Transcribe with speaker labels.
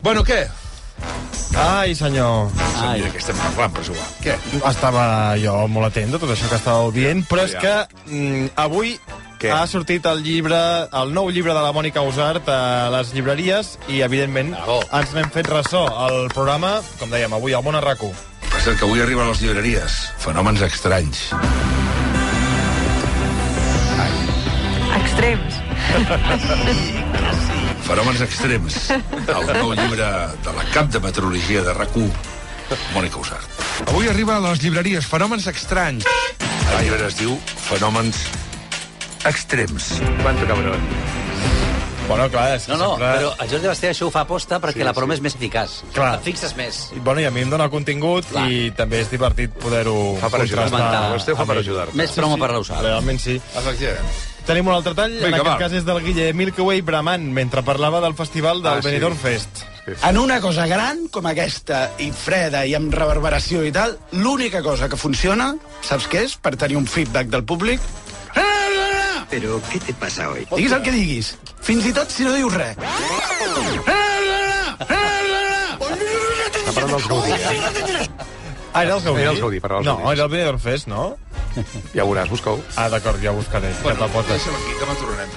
Speaker 1: Bueno, què?
Speaker 2: Ai, senyor.
Speaker 1: Ai. Mira, que estem parlant, però és igual. Què?
Speaker 2: Estava jo molt atent de tot això que estàveu dient, però és que
Speaker 1: Aviam.
Speaker 2: mm, avui
Speaker 1: Què?
Speaker 2: ha sortit el llibre, el nou llibre de la Mònica Usart a les llibreries i, evidentment,
Speaker 1: Bravo.
Speaker 2: ens n'hem fet ressò. El programa, com dèiem, avui al món a RAC1.
Speaker 1: El que Passa és que avui arriben a les llibreries. Fenòmens estranys.
Speaker 3: Extrems.
Speaker 1: Fenòmens extrems. El nou llibre de la cap de meteorologia de rac Mònica Usart. Avui arriba a les llibreries Fenòmens estranys. El llibre es diu Fenòmens extrems.
Speaker 4: Quanto cabrón.
Speaker 2: Bueno, clar, és que
Speaker 5: No, no,
Speaker 2: sempre...
Speaker 5: però el Jordi Basté això ho fa aposta perquè sí, la broma és més eficaç.
Speaker 2: Clar.
Speaker 5: Et fixes més.
Speaker 2: Bueno, i a mi em dona contingut
Speaker 5: Clar.
Speaker 2: i també és divertit poder-ho
Speaker 4: Fa per ajudar.
Speaker 5: Contrastar.
Speaker 4: Ho esteu fa per
Speaker 2: Amic.
Speaker 4: ajudar.
Speaker 5: Més promo per l'usar.
Speaker 2: Realment sí.
Speaker 1: Efectivament.
Speaker 2: Tenim un altre tall, en
Speaker 1: Vinga,
Speaker 2: aquest
Speaker 1: va.
Speaker 2: cas és del Guille Milkaway Bramant, mentre parlava del festival del
Speaker 4: Ah,
Speaker 2: ah,
Speaker 4: sí.
Speaker 2: Benidorm Fest.
Speaker 6: En una cosa gran com aquesta, i freda, i amb reverberació i tal, l'única cosa que funciona, saps què és? Per tenir un feedback del públic.
Speaker 7: Pero, ¿qué te pasa hoy?
Speaker 6: Diguis el que diguis. Fins i tot si no dius res.
Speaker 4: Està parlant dels Gaudí, eh?
Speaker 2: Ah, era el Gaudí?
Speaker 4: Era el Gaudí, però el
Speaker 2: No,
Speaker 4: Gaudí.
Speaker 2: era el Benidorm Fest, no?
Speaker 4: Ja ho veuràs, busca-ho.
Speaker 2: Ah, d'acord, ja ho buscaré. Bueno,
Speaker 1: Bueno,
Speaker 2: ja te'l portes.
Speaker 1: deixem aquí, demà tornem.